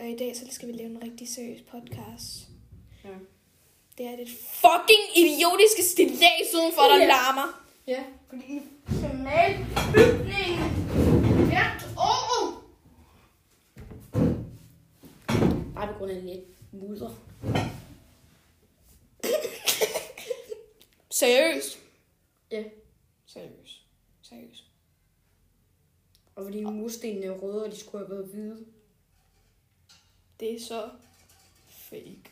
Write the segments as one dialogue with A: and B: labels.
A: og i dag så skal vi lave en rigtig seriøs podcast.
B: Ja.
A: Det er det fucking idiotiske stilas udenfor, der
B: Ja.
A: larmer.
B: Ja.
C: Fordi nationalbygningen hvert år.
B: Bare på grund af lidt mudder.
A: Seriøst?
B: Ja.
A: Seriøst. Seriøst.
B: Og fordi murstenene er røde, og de skulle have været hvide.
A: Det er så fake.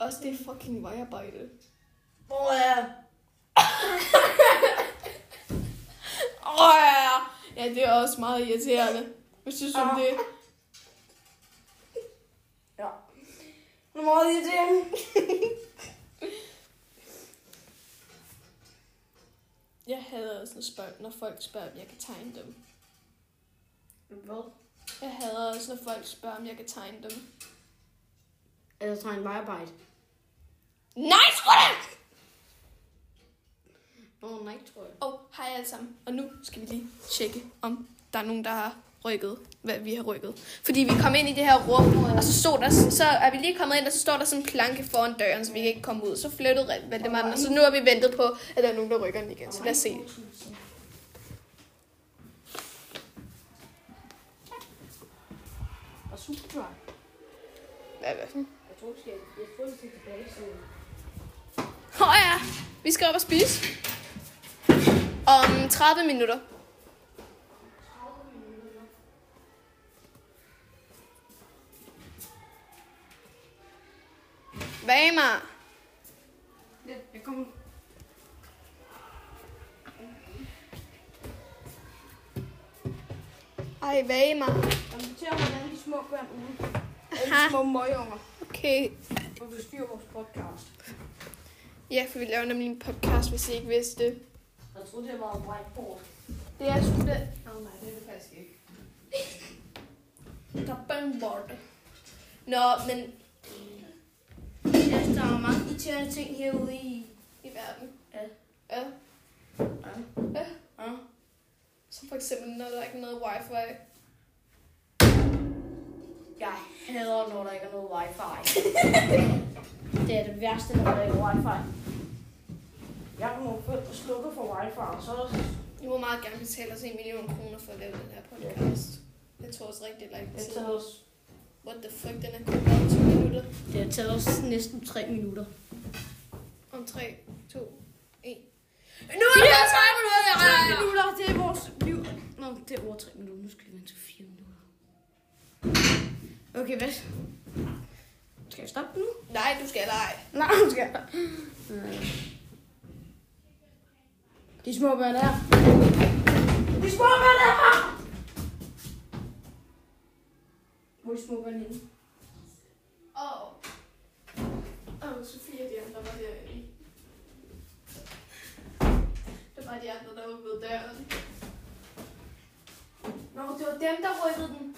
A: Også det fucking vejarbejde.
C: Hvor er
A: Åh, oh, ja. ja, det er også meget irriterende. Hvis du som det.
B: Ja.
C: Nu må jeg lige det.
A: Jeg hader også, når, spørg, når folk spørger, om jeg kan tegne dem.
B: Hvad?
A: Jeg hader også, når folk spørger, om jeg kan tegne dem.
B: Altså, tager en vejarbejde.
A: Nej, sgu da!
B: Nå, oh, nej, tror jeg.
A: Og hej alle sammen. Og nu skal vi lige tjekke, om der er nogen, der har rykket, hvad vi har rykket. Fordi vi kom ind i det her rum, og så, stod der, så er vi lige kommet ind, og så står der sådan en planke foran døren, så vi kan ikke komme ud. Så flyttede Valdemar den, og så nu har vi ventet på, at der er nogen, der rykker den igen. Så lad os se.
B: Og superdry.
A: Hvad, hvad?
B: Jeg tror, vi skal jeg får det tilbage siden.
A: Åh oh ja, vi skal op og spise. Om 30 minutter. Vamar.
B: Ja, jeg kommer.
A: Ej, Vamar.
C: Jeg noterer, hvordan de små børn ude.
A: Aha.
C: Alle de små møgeunger.
A: Okay.
C: Og vi styrer vores podcast.
A: Ja, for vi laver nemlig en podcast, hvis I ikke vidste det.
B: Jeg troede, det var et whiteboard.
A: Det er sgu da...
B: Nå, nej, det er det faktisk ikke.
A: Der er bønbord. Nå, men
C: Ja, der er mange irriterende ting herude i...
A: i verden.
C: Ja.
A: Ja.
B: Ja.
A: Ja.
B: Ja.
A: Så for eksempel, når der ikke er noget wifi.
B: Jeg hader, når der ikke er noget wifi. det er det værste, når der ikke er wifi.
C: Jeg har nogle født og slukker for wifi, og så...
A: I må meget gerne betale os en million kroner for at lave den her podcast. Jeg tror også rigtig lang
B: Det
A: tid.
B: tager os,
A: What the fuck, den er kun om to minutter.
B: det har taget os næsten 3 minutter.
A: Om 3, 2, 1. Nu er det 3 minutter!
B: 3 minutter, det er vores liv. Nå, det er over 3 minutter. Nu skal vi vente til 4 minutter. Okay, hvad? Skal jeg stoppe nu?
A: Nej, du skal lege.
B: Nej, nu skal jeg. Øh. De små børn er.
C: De små børn er her!
B: Hvor er de små børn henne?
A: Åh. Åh, Sofie og de andre var derinde. Det var de andre, der åbnede døren. Nå, det var dem, der rykkede den.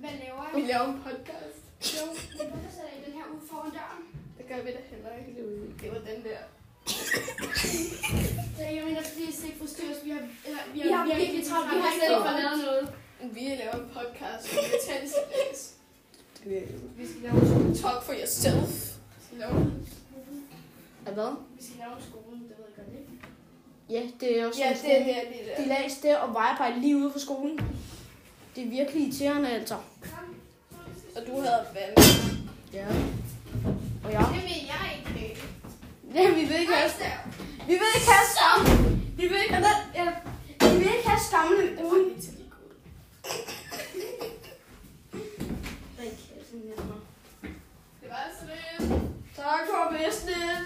D: Hvad laver
A: Vi
D: I?
A: laver en podcast.
D: Jo, men hvorfor sætter I den her ude foran døren?
A: Det gør vi da heller ikke. Det var den der.
D: Ja, jeg mener, please ikke forstyrre os. Vi har, eller,
C: Vi
D: vi har,
C: har
D: virkelig
C: virkelig
D: travlt. Vi
C: travlt.
D: har
C: Vi
D: slet
C: har
D: ikke
C: ikke
D: fået lavet noget.
A: Vi laver en podcast. Vi er tændslæs.
B: Øh,
D: Vi skal lave en skole.
A: Talk for yourself.
D: Vi skal lave en skole.
B: Hvad?
D: Vi skal lave en skole. Det ved jeg godt ikke.
B: Ja, det er også
A: Ja,
B: en
A: det er
B: skole.
A: det, det
B: De
A: der.
B: læs der og vejarbejde lige ude for skolen. Det er virkelig irriterende, altså.
D: Kom. Så er det sidste.
A: Og du havde vand.
B: Ja. Og jeg.
D: Det vil jeg ikke have.
B: Ja, vi vil ikke have,
D: Stav.
B: vi vil ikke have skamme. Vi vil ikke have, ja, vi vil ikke have skamme.
A: Det var lige til lige god. Det var altså det.
B: Tak for business.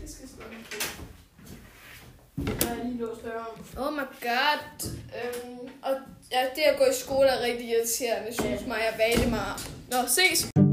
A: Det skal slå mig.
C: Jeg har lige låst døren.
A: Oh my god. Øhm, og ja, det at gå i skole er rigtig irriterende, synes mig og Valdemar. Nå, ses.